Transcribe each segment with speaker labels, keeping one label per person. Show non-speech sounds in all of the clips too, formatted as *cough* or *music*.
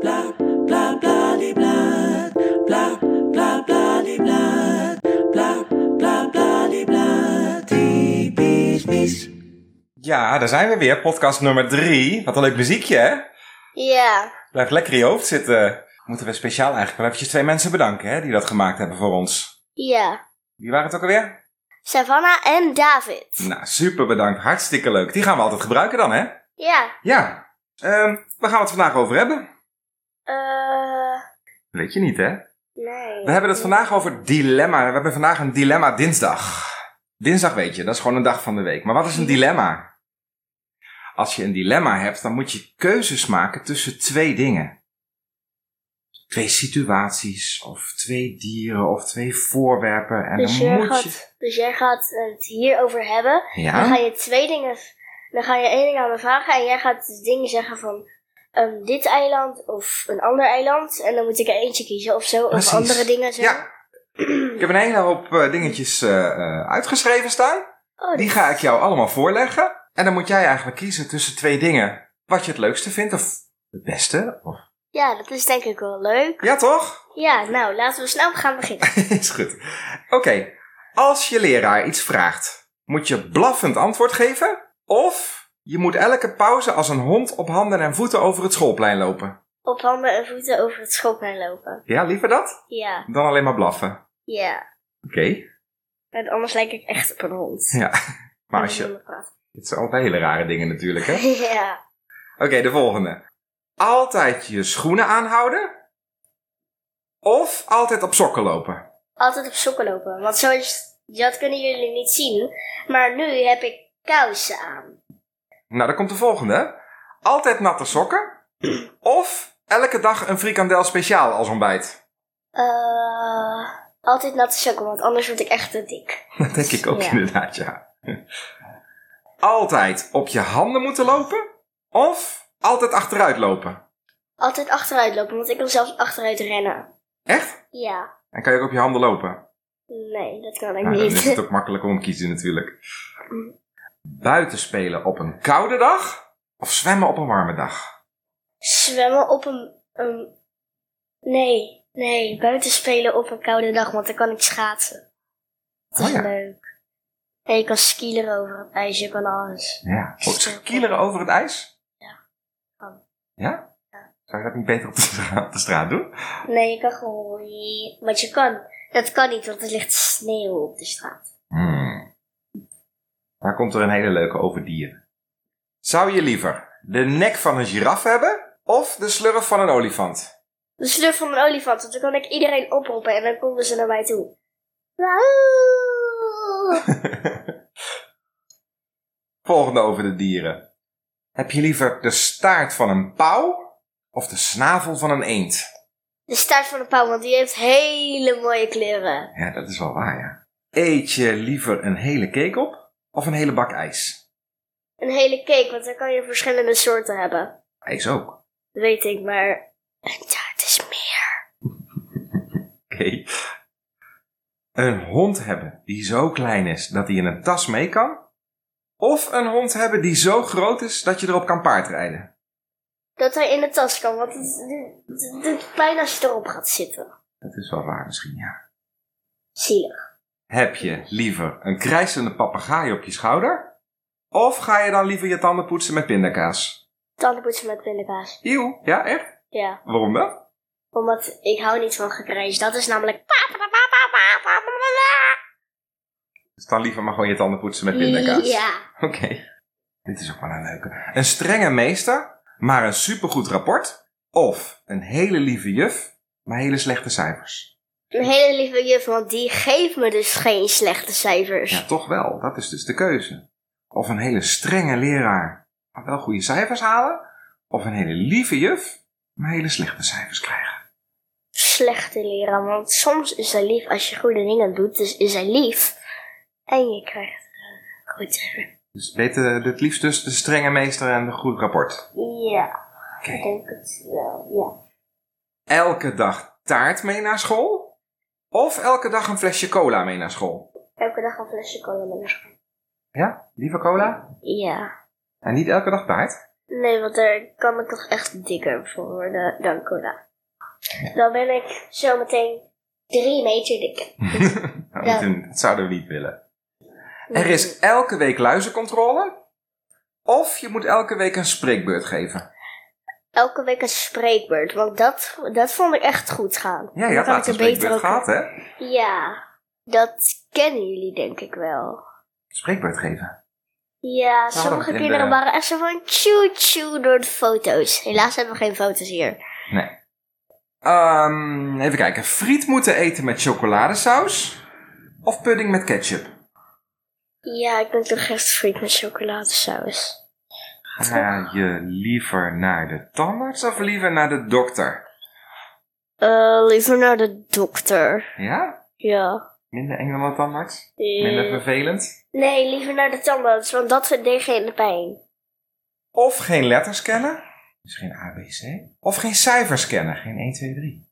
Speaker 1: bla bla bla die bla bla bla bla die bla bla bla bla die bla typisch mies.
Speaker 2: Ja, daar zijn we weer. Podcast nummer drie. Wat een leuk muziekje, hè?
Speaker 3: Ja,
Speaker 2: Blijf lekker in je hoofd zitten. Moeten we speciaal eigenlijk wel eventjes twee mensen bedanken, hè? Die dat gemaakt hebben voor ons.
Speaker 3: ja.
Speaker 2: Wie waren het ook alweer?
Speaker 3: Savannah en David.
Speaker 2: Nou, super bedankt. Hartstikke leuk. Die gaan we altijd gebruiken dan, hè?
Speaker 3: Ja,
Speaker 2: Ja. Ehm, waar gaan we het vandaag over hebben?
Speaker 3: eh.
Speaker 2: Weet je niet, hè?
Speaker 3: Nee.
Speaker 2: We hebben het vandaag over dilemma. We hebben vandaag een dilemma dinsdag. Dinsdag weet je, dat is gewoon een dag van de week. Maar wat is een dilemma? Als je een dilemma hebt, dan moet je keuzes maken tussen twee dingen. Twee situaties, of twee dieren, of twee voorwerpen. En
Speaker 3: Dus
Speaker 2: dan
Speaker 3: jij,
Speaker 2: moet
Speaker 3: gaat,
Speaker 2: je...
Speaker 3: dus jij gaat het hierover hebben. Dan ga
Speaker 2: Ja?
Speaker 3: je twee dingen. Dan ga je één ding aan me vragen en jij gaat dingen zeggen van ehm, dit eiland of een ander eiland. En dan moet ik er eentje kiezen of zo.
Speaker 2: Precies.
Speaker 3: Of andere dingen zo.
Speaker 2: Ja. Ik heb een hele hoop eh, dingetjes eh, eh, uitgeschreven staan.
Speaker 3: Oh,
Speaker 2: Die
Speaker 3: dat-
Speaker 2: ga ik jou allemaal voorleggen. En dan moet jij eigenlijk kiezen tussen twee dingen. Wat je het leukste vindt, of het beste. Of...
Speaker 3: Ja, dat is denk ik wel leuk.
Speaker 2: Ja, toch?
Speaker 3: Ja, nou laten we snel gaan beginnen.
Speaker 2: *laughs* Is goed. Oké, als je leraar iets vraagt, moet je blaffend antwoord geven? Of je moet elke pauze als een hond op handen en voeten over het schoolplein lopen?
Speaker 3: Op handen en voeten over het schoolplein lopen.
Speaker 2: Ja, liever dat
Speaker 3: Ja,
Speaker 2: dan alleen maar blaffen.
Speaker 3: ja.
Speaker 2: Oké,
Speaker 3: Want anders lijk ik echt op een hond.
Speaker 2: Ja, maar als
Speaker 3: En
Speaker 2: je...
Speaker 3: dan praat.
Speaker 2: Dit zijn altijd hele rare dingen natuurlijk, hè? Oké,
Speaker 3: *laughs* Ja.
Speaker 2: de volgende. Altijd je schoenen aanhouden? Of altijd op sokken lopen?
Speaker 3: Altijd op sokken lopen. Want zo is, dat kunnen jullie niet zien. Maar nu heb ik kousen aan.
Speaker 2: Nou, dan komt de volgende. Altijd natte sokken? Of elke dag een frikandel speciaal als ontbijt?
Speaker 3: Eh, altijd natte sokken, want anders word ik echt te dik.
Speaker 2: Dat denk ik ook
Speaker 3: Ja.
Speaker 2: inderdaad, ja. Altijd op je handen moeten lopen of altijd achteruit lopen?
Speaker 3: Altijd achteruit lopen, want ik kan zelfs achteruit rennen.
Speaker 2: Echt?
Speaker 3: Ja.
Speaker 2: En kan je ook op je handen lopen?
Speaker 3: Nee, dat kan ik
Speaker 2: Nou, dan is
Speaker 3: niet.
Speaker 2: het ook makkelijker om te kiezen natuurlijk. Buiten spelen op een koude dag of zwemmen op een warme dag?
Speaker 3: *laughs* Zwemmen op een, een... Nee, nee. Buiten spelen op een koude dag, want dan kan ik schaatsen. Dat is
Speaker 2: Oh ja.
Speaker 3: leuk. En je kan skielen over het ijs, je kan alles.
Speaker 2: Ja. Oh, skieleren over het ijs?
Speaker 3: Ja. Kan.
Speaker 2: Ja? Zou je dat niet beter op de straat, op de straat doen?
Speaker 3: Nee, je kan gewoon. Want je kan. Dat kan niet, want er ligt sneeuw op de straat.
Speaker 2: Hmm. Daar komt er een hele leuke over dieren. Zou je liever de nek van een giraf hebben of de slurf van een olifant? *laughs*
Speaker 3: Dus De slurf van een olifant, want dan kan ik iedereen oproepen en dan komen ze naar mij toe. Wauw!
Speaker 2: Volgende over de dieren. Heb je liever de staart van een pauw of de snavel van een eend?
Speaker 3: De staart van de pauw, want die heeft hele mooie kleuren.
Speaker 2: Ja, dat is wel waar, ja. Eet je liever een hele cake op of een hele bak ijs?
Speaker 3: Een hele cake, want dan kan je verschillende soorten hebben.
Speaker 2: Ijs ook. Oké.
Speaker 3: Dat weet ik, maar. Een taart is meer.
Speaker 2: Een hond hebben die zo klein is dat hij in een tas mee kan? Of een hond hebben die zo groot is dat je erop kan paardrijden?
Speaker 3: Dat hij in de tas kan, want het het- het doet pijn als je erop gaat zitten.
Speaker 2: Dat is wel waar misschien, ja.
Speaker 3: Zielig.
Speaker 2: Heb je liever een krijsende papegaai op je schouder? Of ga je dan liever je tanden poetsen met pindakaas?
Speaker 3: Tandenpoetsen met pindakaas.
Speaker 2: Eeuw, ja echt?
Speaker 3: Ja.
Speaker 2: Waarom dan?
Speaker 3: Omdat ik hou niet van gekrijs. Dat is namelijk.
Speaker 2: Dus dan liever maar gewoon je tanden poetsen met pindakaas.
Speaker 3: Ja.
Speaker 2: Oké. Dit is ook wel een leuke. Een strenge meester, maar een supergoed rapport. Of een hele lieve juf, maar hele slechte cijfers.
Speaker 3: Een hele lieve juf, want die geeft me dus geen slechte cijfers.
Speaker 2: Ja, toch wel. Dat is dus de keuze. Of een hele strenge leraar, maar wel goede cijfers halen. Of een hele lieve juf, maar hele slechte cijfers krijgen.
Speaker 3: Slechte leraar, want soms is hij lief als je goede dingen doet, dus is hij lief. En je krijgt eh, goed cijfer.
Speaker 2: Dus beter het liefst dus de strenge meester en een goed rapport.
Speaker 3: Ja,
Speaker 2: Oké.
Speaker 3: ik denk het wel, ja.
Speaker 2: Elke dag taart mee naar school? Of elke dag een flesje cola mee naar school?
Speaker 3: Elke dag een flesje cola met een school.
Speaker 2: Ja, lieve cola.
Speaker 3: Ja.
Speaker 2: En niet elke dag taart?
Speaker 3: Nee, want daar kan ik toch echt dikker voor worden dan cola. Dan ben ik zometeen drie meter dik.
Speaker 2: Nou,
Speaker 3: Ja.
Speaker 2: toen- Dat zouden we niet willen. Er is elke week luizencontrole. Of je moet elke week een spreekbeurt geven.
Speaker 3: Elke week een spreekbeurt, want dat, dat vond ik echt goed gaan.
Speaker 2: Ja, je
Speaker 3: Dan
Speaker 2: had
Speaker 3: kan
Speaker 2: laatst een
Speaker 3: ik er beter
Speaker 2: spreekbeurt
Speaker 3: ook-
Speaker 2: gehad, hè?
Speaker 3: Ja, dat kennen jullie denk ik wel.
Speaker 2: Spreekbeurt geven.
Speaker 3: Ja,
Speaker 2: dat
Speaker 3: sommige
Speaker 2: in
Speaker 3: kinderen
Speaker 2: de-
Speaker 3: waren echt zo van tjoe tjoe door de foto's. Helaas hebben we geen foto's hier.
Speaker 2: Nee. Ehm, even kijken. Friet moeten eten met chocoladesaus. Of pudding met ketchup.
Speaker 3: Ja, ik ben toch echt freak met chocoladesaus.
Speaker 2: Ga je liever naar de tandarts of liever naar de dokter?
Speaker 3: Eh, liever naar de dokter.
Speaker 2: Ja?
Speaker 3: Ja.
Speaker 2: Minder eng dan de tandarts?
Speaker 3: Eh,
Speaker 2: Minder vervelend?
Speaker 3: nee, liever naar de tandarts, want dat deed geen pijn.
Speaker 2: Of geen letters kennen? Dus geen ABC. Of geen cijfers kennen? Geen 1, 2, 3.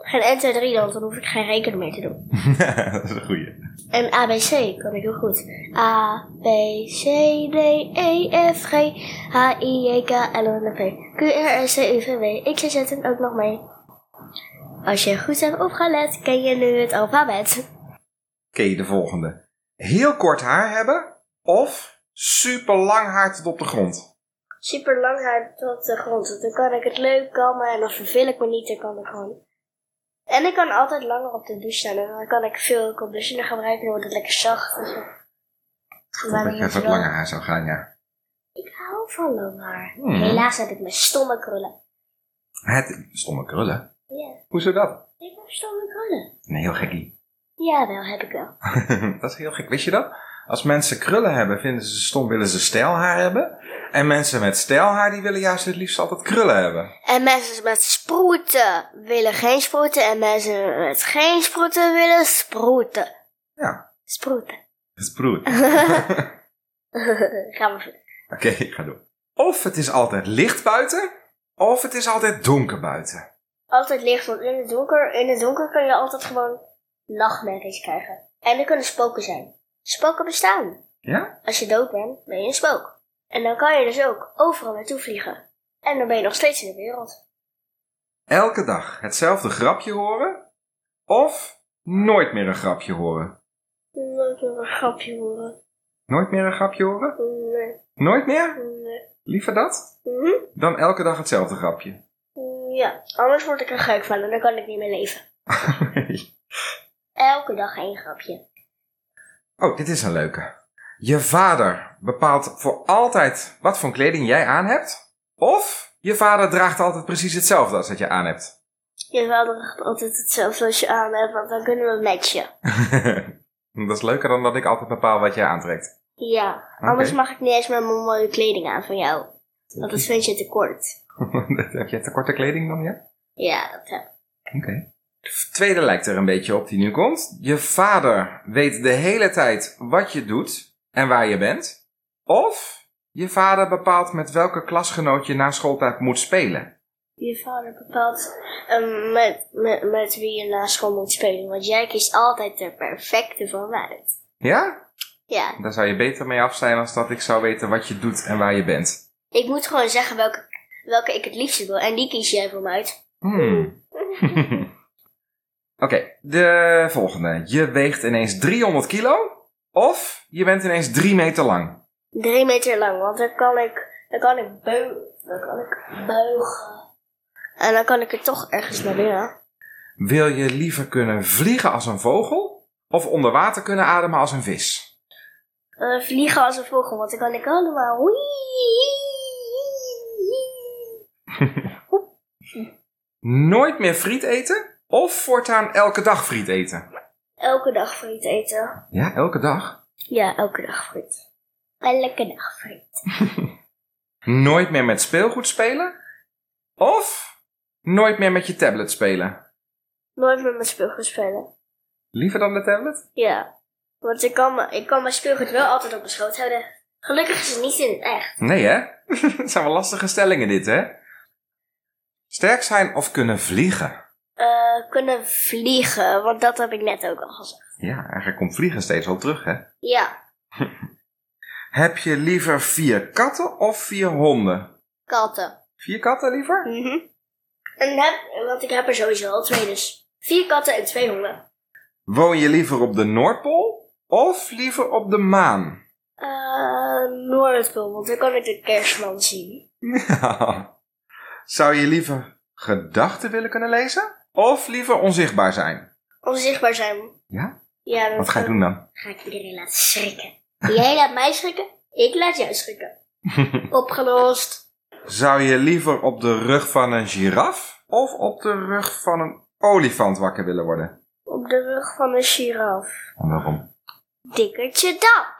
Speaker 3: Geen enter 3 dan, dan hoef ik geen rekening mee te doen.
Speaker 2: *laughs* dat is een goeie.
Speaker 3: En ABC kan ik heel goed. A, B, C, D, E, F, G, H, I, J, K, L, N, P, Q, R, S, T, U, V, W, X, Y, Z en ook nog mee. Als je goed hebt opgelet, ken je nu het alfabet.
Speaker 2: Oké, de volgende. Heel kort haar hebben of super lang haar tot op de grond.
Speaker 3: Super lang haar tot de grond, want dan kan ik het leuk kammen en dan verveel ik me niet, dan kan ik gewoon. En ik kan altijd langer op de douche staan en dan kan ik veel conditioner gebruiken, dan wordt het lekker zacht. en zo. Maar
Speaker 2: Dat je
Speaker 3: niet
Speaker 2: even
Speaker 3: wel-
Speaker 2: langer haar zou gaan, ja.
Speaker 3: Ik hou van lang haar.
Speaker 2: Hmm.
Speaker 3: Helaas heb ik mijn stomme krullen.
Speaker 2: Het stomme krullen.
Speaker 3: Ja,
Speaker 2: Hoezo dat?
Speaker 3: ik heb stomme krullen.
Speaker 2: Nee, heel gekkie. *laughs*
Speaker 3: Ja, wel heb ik wel.
Speaker 2: dat is heel gek. Wist je dat? Als mensen krullen hebben, vinden ze stom, willen ze stijlhaar hebben. En mensen met stijlhaar, die willen juist het liefst altijd krullen hebben.
Speaker 3: En mensen met sproeten willen geen sproeten. En mensen met geen sproeten willen sproeten.
Speaker 2: Ja,
Speaker 3: Sproeten. *laughs*
Speaker 2: dat is broer.
Speaker 3: Gaan we verder.
Speaker 2: Oké, ik ga door. Of het is altijd licht buiten, of het is altijd donker buiten.
Speaker 3: Altijd licht, want in het donker, in het donker kun je altijd gewoon nachtmerries krijgen. En er kunnen spoken zijn. Spoken bestaan.
Speaker 2: Ja?
Speaker 3: Als je dood bent, ben je een spook. En dan kan je dus ook overal naartoe vliegen. En dan ben je nog steeds in de wereld.
Speaker 2: Elke dag hetzelfde grapje horen, of nooit meer een grapje horen.
Speaker 3: Nooit nog een grapje horen.
Speaker 2: Nooit meer een grapje horen?
Speaker 3: Nee,
Speaker 2: Nooit meer?
Speaker 3: nee.
Speaker 2: Liever dat?
Speaker 3: Mhm.
Speaker 2: Dan elke dag hetzelfde grapje.
Speaker 3: Mm, Ja, anders word ik er gek van en dan kan ik niet meer leven. Elke dag één grapje.
Speaker 2: oh, dit is een leuke. Je vader bepaalt voor altijd wat voor kleding jij aan hebt, of je vader draagt altijd precies hetzelfde als dat je aan hebt.
Speaker 3: Je vader draagt altijd hetzelfde als je aan hebt, want dan kunnen we matchen.
Speaker 2: dat is leuker dan dat ik altijd bepaal wat jij aantrekt.
Speaker 3: Ja, anders mag ik niet eens met mijn mooie kleding aan van jou. Want dat vind je te kort.
Speaker 2: heb je te korte kleding dan, ja?
Speaker 3: Ja, dat heb ik.
Speaker 2: Oké. De tweede lijkt er een beetje op die nu komt. Je vader weet de hele tijd wat je doet en waar je bent. Of je vader bepaalt met welke klasgenoot je na schooltijd moet spelen.
Speaker 3: Je vader bepaalt ehm, met, met, met wie je na school moet spelen, want jij kiest altijd de perfecte van mij uit.
Speaker 2: Ja?
Speaker 3: Ja,
Speaker 2: Daar zou je beter mee af zijn als dat ik zou weten wat je doet en waar je bent.
Speaker 3: ik moet gewoon zeggen welke, welke ik het liefste wil en die kies jij voor mij uit.
Speaker 2: Hmm. *laughs* Oké, de volgende. Je weegt ineens 300 kilo of je bent ineens 3 meter lang.
Speaker 3: Drie meter lang, want dan kan ik, dan kan ik, beu dan kan ik buigen. En dan kan ik er toch ergens naar binnen.
Speaker 2: Wil je liever kunnen vliegen als een vogel of onder water kunnen ademen als een vis?
Speaker 3: Eh, vliegen als een vogel, want dan kan ik allemaal. Wee,
Speaker 2: Nooit meer friet eten of voortaan elke dag friet eten?
Speaker 3: Elke dag friet eten.
Speaker 2: Ja, elke dag.
Speaker 3: Ja, elke dag friet. Elke dag friet.
Speaker 2: Nooit meer met speelgoed spelen of nooit meer met je tablet spelen?
Speaker 3: Nooit met mijn speelgoed spelen.
Speaker 2: Liever dan de tablet?
Speaker 3: Ja, want ik kan, me- ik kan mijn speelgoed wel altijd op mijn schoot houden. Gelukkig is het niet in het echt.
Speaker 2: Nee hè? *laughs* Het zijn wel lastige stellingen dit hè? Sterk zijn of kunnen vliegen?
Speaker 3: Eh, kunnen vliegen, want dat heb ik net ook al gezegd.
Speaker 2: Ja, eigenlijk komt vliegen steeds wel terug hè?
Speaker 3: Ja,
Speaker 2: Heb je liever vier katten of vier honden?
Speaker 3: Katten.
Speaker 2: Vier katten liever?
Speaker 3: Mhm. En heb, want ik heb er sowieso al twee, dus vier katten en twee honden.
Speaker 2: Woon je liever op de Noordpool of liever op de maan? *laughs*
Speaker 3: Eh Noordpool, want dan kan ik de kerstman zien.
Speaker 2: Zou je liever gedachten willen kunnen lezen? Of liever onzichtbaar zijn?
Speaker 3: Onzichtbaar zijn.
Speaker 2: Ja?
Speaker 3: Ja, dan
Speaker 2: Wat ga je doen dan?
Speaker 3: ga ik iedereen laten schrikken. Jij laat mij schrikken, ik laat
Speaker 2: *laughs*
Speaker 3: jou schrikken. Opgelost.
Speaker 2: Zou je liever op de rug van een giraf of op de rug van een olifant wakker willen worden?
Speaker 3: Op de rug van een giraf.
Speaker 2: En waarom? *laughs*
Speaker 3: Dikkertje dap.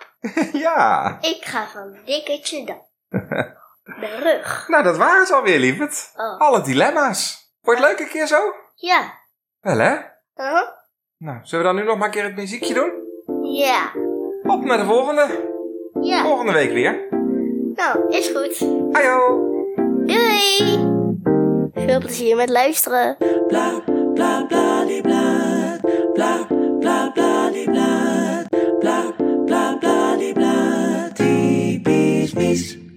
Speaker 2: ja,
Speaker 3: Ik ga van dikkertje dap. De rug.
Speaker 2: nou dat waren ze alweer, lieverd.
Speaker 3: Oh,
Speaker 2: Alle dilemma's. Wordt leuk een keer zo?
Speaker 3: ja.
Speaker 2: Wel hè?
Speaker 3: Huh?
Speaker 2: Nou, zullen we dan nu nog maar een keer het muziekje doen?
Speaker 3: Ja.
Speaker 2: Op naar de volgende.
Speaker 3: Ja.
Speaker 2: Volgende week weer.
Speaker 3: Nou, is goed.
Speaker 2: Ajo!
Speaker 3: Doei! Veel plezier met luisteren.
Speaker 1: bla bla bla di bla bla bla bla di bla bla bla bla di bla typisch mis